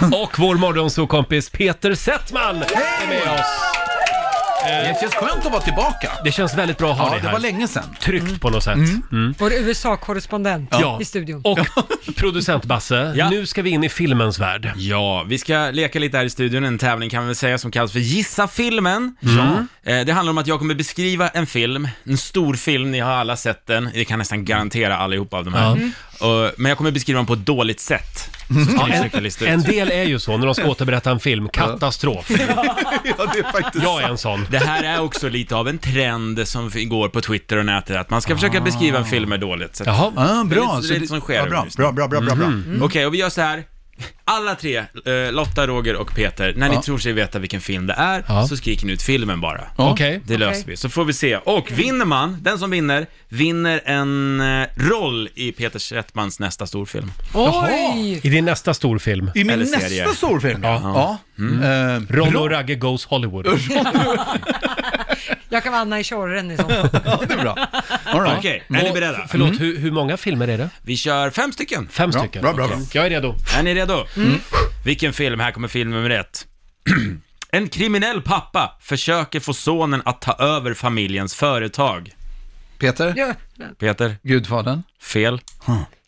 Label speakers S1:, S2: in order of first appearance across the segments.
S1: Och vår morgonsåkompis Peter Settman är med oss.
S2: Det känns skönt att vara tillbaka.
S1: Det känns väldigt bra att ha
S2: Ja,
S1: dig
S2: det
S1: här.
S2: var länge sedan.
S1: Tryggt på något sätt. Mm.
S3: Vår USA-korrespondent i studion.
S1: och producent Basse,
S4: Ja.
S1: nu ska vi in i filmens värld.
S4: Ja, vi ska leka lite här i studion, en tävling kan vi väl säga som kallas för Gissa filmen. Eh, Det handlar om att jag kommer beskriva en film, en stor film, ni har alla sett den, det kan nästan garantera allihopa av de här. Mm.
S1: Ja. Mm.
S4: Och- men jag kommer beskriva den på ett dåligt sätt. Så ska ni försöka lista
S1: En
S4: ut.
S1: del är ju så när de ska återberätta en film, katastrof.
S2: Ja, det är faktiskt
S1: Jag är en sån.
S4: Det här är också lite av en trend som går på Twitter och nätet, att man ska försöka beskriva en film med dåligt sätt.
S1: Ah. Jaha.
S2: Ah,
S4: Det är
S2: bra.
S4: lite-
S2: Så
S4: det är lite som sker Mm-hmm.
S2: ja, bra,
S4: just nu.
S2: bra, bra, bra, bra. bra.
S4: Okej, och vi gör så här. Alla tre, eh, Lotta, Roger och Peter, när ni tror sig veta vilken film det är,
S1: Ja.
S4: så skriker ni ut filmen bara.
S1: Okej.
S4: Det löser vi, så får vi se. Och vinner man, den som vinner, vinner en eh, roll i Peter Settmans nästa storfilm.
S3: Oj!
S1: I din nästa storfilm,
S2: I min
S4: Eller Mm.
S2: nästa
S4: serie.
S2: storfilm, ja. ja. Eh,
S1: Ron och Ragge Goes Hollywood.
S3: Jag kan vara Anna i Tjorren i så fall.
S2: ja, det är bra. All right.
S4: Okej, är ni
S1: Och-
S4: beredda?
S1: Förlåt, hur, hur många filmer är det?
S4: Vi kör fem stycken.
S1: Fem
S2: Mm. Bra,
S1: stycken?
S2: bra, bra,
S1: Okej.
S2: bra.
S1: Jag är redo.
S4: Är ni redo?
S1: Mm.
S4: Vilken film? Här kommer film nummer ett. en kriminell pappa försöker få sonen att ta över familjens företag.
S2: Peter,
S3: Ja,
S4: Peter,
S2: Gudfadern.
S4: fel,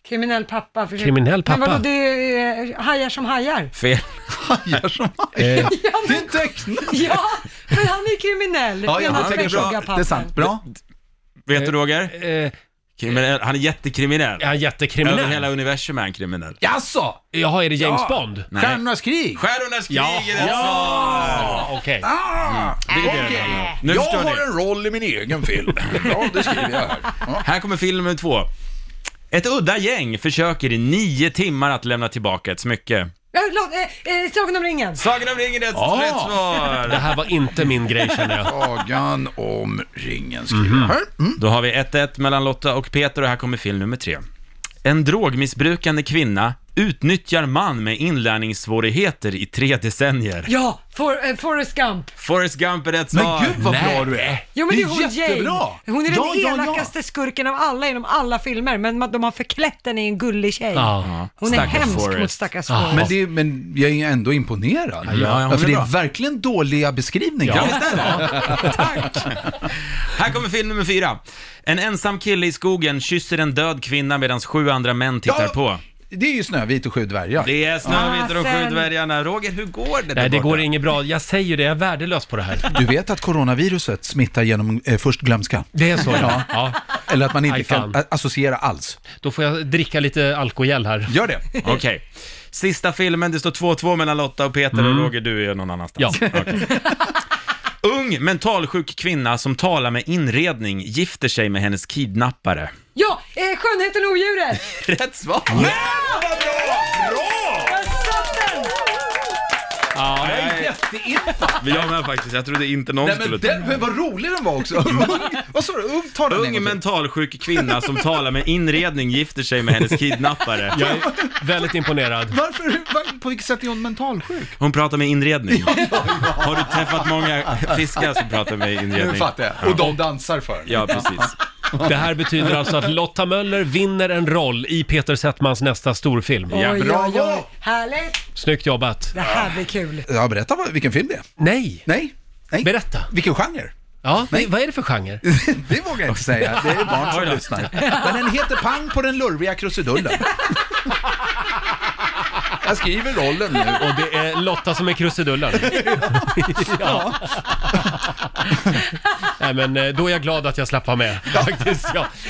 S3: kriminell pappa. försöker-
S1: Kriminell pappa?
S3: Men vadå, det är eh, hajar som hajar?
S4: fel.
S2: Hajar som
S1: Eh,
S2: hajar. Det är en teckning.
S3: Ja, men han är kriminell.
S2: Ja, ja,
S3: Medan
S2: han tänker
S3: Tvättstuga
S2: bra.
S3: pappan.
S2: Det är sant. Bra.
S4: Vet du Roger?
S1: eh,
S4: Kriminell. Han är jättekriminell.
S1: är han
S4: Över
S1: jättekriminell?
S4: hela universum är han kriminell.
S2: Jaså?
S1: Jaha, är det James
S2: Ja.
S1: Bond?
S4: Nej.
S2: Stjärnornas krig?
S4: Stjärnornas krig
S1: Ja.
S4: är det alltså!
S1: Ja, Okej.
S4: Det är det det handlar om. Nu förstår ni.
S2: en roll i min egen film. Ja, det skriver jag här. Ja.
S4: Här kommer film nummer två. Ett udda gäng försöker i nio timmar att lämna tillbaka ett smycke.
S3: Ja, låt- eh, eh, Sagan om ringen.
S4: Sagan om ringen är ett
S2: Ja.
S4: rätt
S1: Det
S4: svar!
S1: här var inte min grej känner jag.
S2: Sagan om ringen skriver
S4: Mhm.
S2: jag här. Mm.
S4: Då har vi 1-1 mellan Lotta och Peter och här kommer film nummer tre. En drogmissbrukande kvinna utnyttjar man med inlärningssvårigheter i tre decennier.
S3: Ja, for, eh, Forrest Gump.
S4: Forrest Gump är rätt svar.
S2: Men gud vad
S1: Nej.
S2: bra du är.
S3: Jo, men det är hon
S2: jättebra.
S3: Jane. Hon är den
S2: Ja, ja, ja.
S3: elakaste skurken av alla inom alla filmer, men man- de har förklätt henne i en gullig tjej.
S1: Ja.
S3: Hon är
S4: Stackars
S3: hemsk
S4: Forrest.
S3: mot stackars Forrest.
S2: Men, det är, men jag är ändå imponerad.
S4: ja, hon är
S2: för det är
S4: bra.
S2: verkligen dåliga beskrivningar.
S4: Ja, visst är det? Tack! Här kommer film nummer fyra. En ensam kille i skogen kysser en död kvinna medan sju andra män tittar
S2: Ja.
S4: på.
S2: Det är ju Snövit och sju dvärgar.
S4: Det är Snövit och de sju
S3: Fasen.
S4: dvärgarna. Roger, hur går det där
S1: Nej, det
S4: borta?
S1: går inget bra. Jag säger ju det, jag är värdelös på det här.
S2: Du vet att coronaviruset smittar genom eh, först glömska.
S1: Det är så ja.
S2: Ja.
S1: ja.
S2: Eller att man inte
S1: Aj,
S2: kan
S1: fan.
S2: a- associera alls.
S1: Då får jag dricka lite alkogel här.
S2: Gör det.
S4: Okej. Sista filmen, det står 2-2 mellan Lotta och Peter
S2: Mm.
S4: och Roger, du är någon annanstans.
S1: Ja.
S4: Okej. Ung mentalsjuk kvinna som talar med inredning gifter sig med hennes kidnappare.
S3: Ja, eh, Skönheten och odjuret.
S4: Rätt svar!
S3: Jag satt den!
S1: Ja,
S2: Jätteimpa!
S4: Jag med faktiskt, jag trodde inte någon
S2: Nej
S4: skulle
S2: men
S4: ta Mm.
S2: den, men vad rolig den var också! Ung- Vad sa du? Ung, ta den en gång
S4: Ung
S2: till.
S4: mentalsjuk kvinna som talar med inredning gifter sig med hennes kidnappare.
S1: jag är väldigt imponerad.
S2: Varför, var, på vilket sätt är hon mentalsjuk?
S4: Hon pratar med inredning. Har du träffat många fiskar som pratar med inredning?
S2: Nu fattar jag. Och de dansar för.
S4: Ja, precis.
S1: Det här betyder alltså att Lotta Möller vinner en roll i Peter Settmans nästa storfilm.
S3: Oj,
S2: bra.
S3: oj, oj. Härligt.
S1: Snyggt jobbat.
S3: Det här blir kul.
S2: Ja, berätta vad, vilken film det är.
S1: Nej,
S2: Nej. Nej.
S1: berätta.
S2: Vilken genre?
S1: Ja, nej, vad är det för genre?
S2: Det vågar jag inte säga. Det är barn
S4: Oj
S2: som
S4: då.
S2: lyssnar. Men den heter Pang på den lurviga krusidullen. Jag skriver rollen nu.
S1: Och det är Lotta som är krusidullen. Ja. Nej men eh, då är jag glad att jag slapp vara med faktiskt. Ja.